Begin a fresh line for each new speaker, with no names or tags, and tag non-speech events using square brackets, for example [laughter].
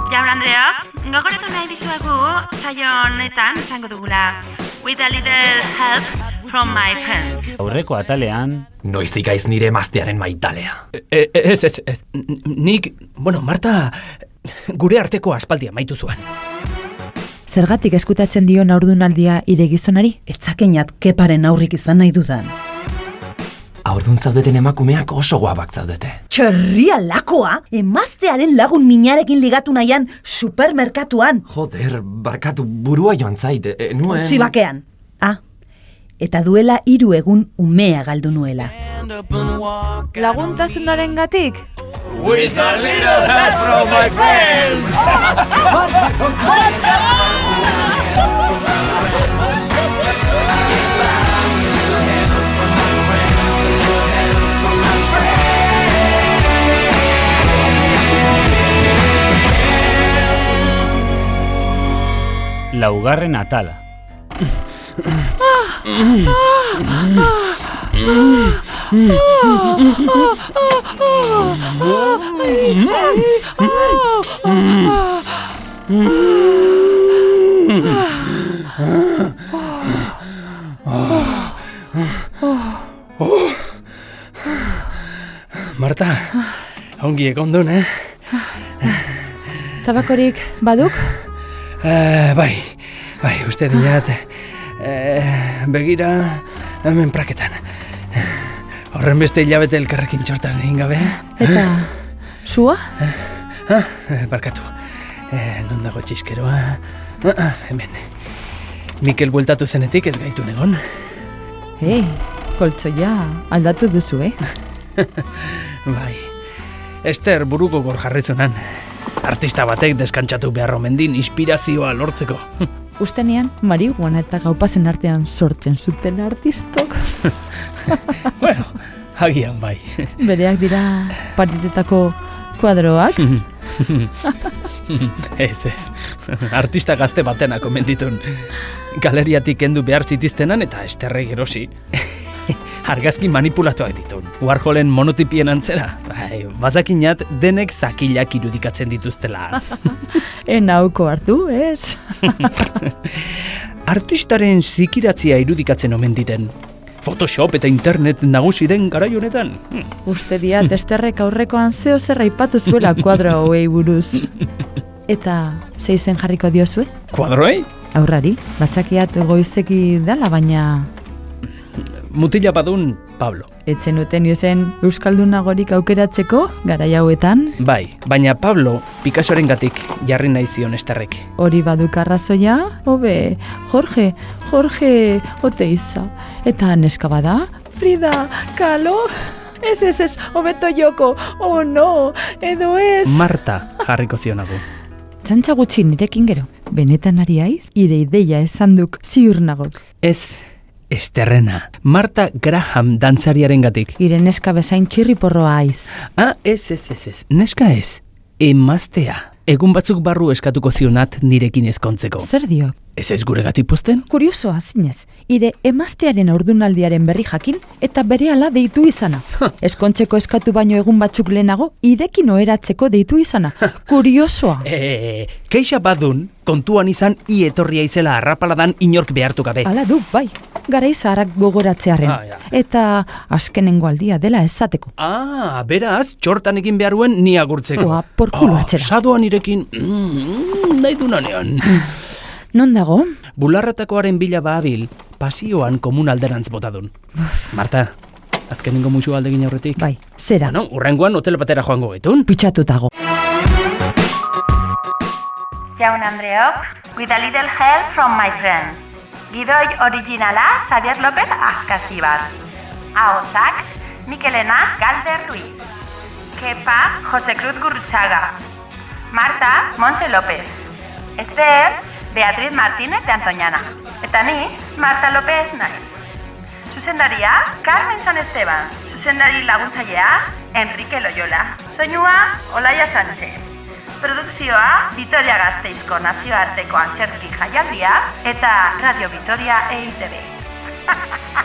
entzulea, gogoratu nahi dizuagu saio honetan izango dugula With a little help from my friends.
Aurreko atalean,
Noiztik aiz nire emaztearen maitalea.
E, e- ez, ez, ez. N- Nik, bueno, Marta, gure arteko aspaldia maitu zuen.
Zergatik eskutatzen dio naurdunaldia ire gizonari?
Etzakenat keparen aurrik izan nahi dudan.
Aurdun zaudeten emakumeak oso guabak zaudete.
Txerria lakoa, emaztearen lagun minarekin ligatu nahian supermerkatuan,
Joder, barkatu burua joan zait, e, e, nuen...
utzi bakean. Ah, eta duela hiru egun umea galdu nuela.
Laguntasunaren gatik?
laugarren atala.
Marta, ongi ekondun, eh?
Tabakorik baduk?
Eh, bai, bai, uste dinat, eh, begira, hemen praketan. Horren beste hilabete elkarrekin txortan egin gabe,
Eh?
Eta... Sua?
ah, eh, barkatu. Eh, non dago txiskeroa, ah, ah, hemen. Mikel bueltatu zenetik ez gaitu egon.
Hei, koltsoia aldatu duzu, eh?
Bai, Ester buruko gor jarrizunan. Artista batek deskantsatu behar omen din inspirazioa lortzeko. [laughs]
Ustenean, marihuana eta gaupazen artean sortzen zuten artistok.
bueno, agian bai. [laughs]
Bereak dira partitetako kuadroak.
Mhm.
ez, ez. Artista gazte batena komenditun. Galeriatik kendu behar zitiztenan eta esterre gerosi. [laughs] Argazki manipulatuak ditun. Warholen monotipien antzera. Bai, bazakinat denek zakilak irudikatzen dituztela.
Enauko hartu, ez?
artistaren zikiratzia irudikatzen omen diten. Photoshop eta internet nagusi den garai honetan. Hm.
Uste diat, esterrek aurrekoan zeo zerra ipatu zuela kuadro hauei buruz. Eta ze izen jarriko diozue?
Kuadroei?
Aurrari, batzakiat goizeki dala, baina
Mutila badun Pablo.
etzen uten izen Euskaldunagorik aukeratzeko, garai hauetan,
Bai, baina Pablo Picassoren gatik jarri nahi zion esterrek.
hori baduk arrazoia, hobe, Jorge, Jorge Oteiza. Eta neska bada, Frida, Kalo, ez ez ez, hobeto joko, oh no, edo ez.
Marta jarriko zionago.
Txantxa gutxi nirekin gero. Benetan ari aiz, ire ideia esan duk ziur nagok.
Ez, esterrena. Marta Graham dantzariaren gatik.
Ire neska bezain txirriporroa aiz.
Ah, ez, ez, ez, ez. Neska ez. Emaztea. Egun batzuk barru eskatuko zionat nirekin ezkontzeko.
Zer dio?
Ez ez gure gatik posten?
Kuriosoa zinez, ire emaztearen ordunaldiaren berri jakin eta berehala deitu izana. Eskontzeko eskatu baino egun batzuk lehenago, irekin oheratzeko deitu izana. Kuriosoa.
E, keixa badun, kontuan izan i etorria izela arrapaladan inork behartu gabe.
Hala du, bai, garai zaharrak gogoratzearen.
eh. Ah, ja.
Eta askenengo aldia dela esateko.
Ah, beraz, txortan egin beharuen ni agurtzeko. Ah,
Oa, porkulo atzera.
Sadoan irekin, mm, mm, nahi
[laughs]
du nanean.
Non dago?
Bularratakoaren bila baabil, pasioan komun alderantz botadun. Marta, azkenengo musu aldegin aurretik.
Bai, zera,
Bueno, urrengoan hotel batera joango gaitun.
pitxatu dago.
Jaun Andreok, With a little help from my friends. Gidoi originala Xavier López Askasibar. Ahotsak, Mikelena Galder Ruiz. Kepa Jose Cruz Gurruchaga. Marta Monse López. Esther Beatriz Martínez de Antoñana. Eta ni Marta López Naiz. Zuzendaria, Carmen San Esteban. Zuzendari laguntzailea, Enrique Loyola. Soinua, Olaia Sánchez. Produkzioa, Vitoria Gasteizko E nazioarteko antzerki jaialdia eta Radio Vitoria EITB.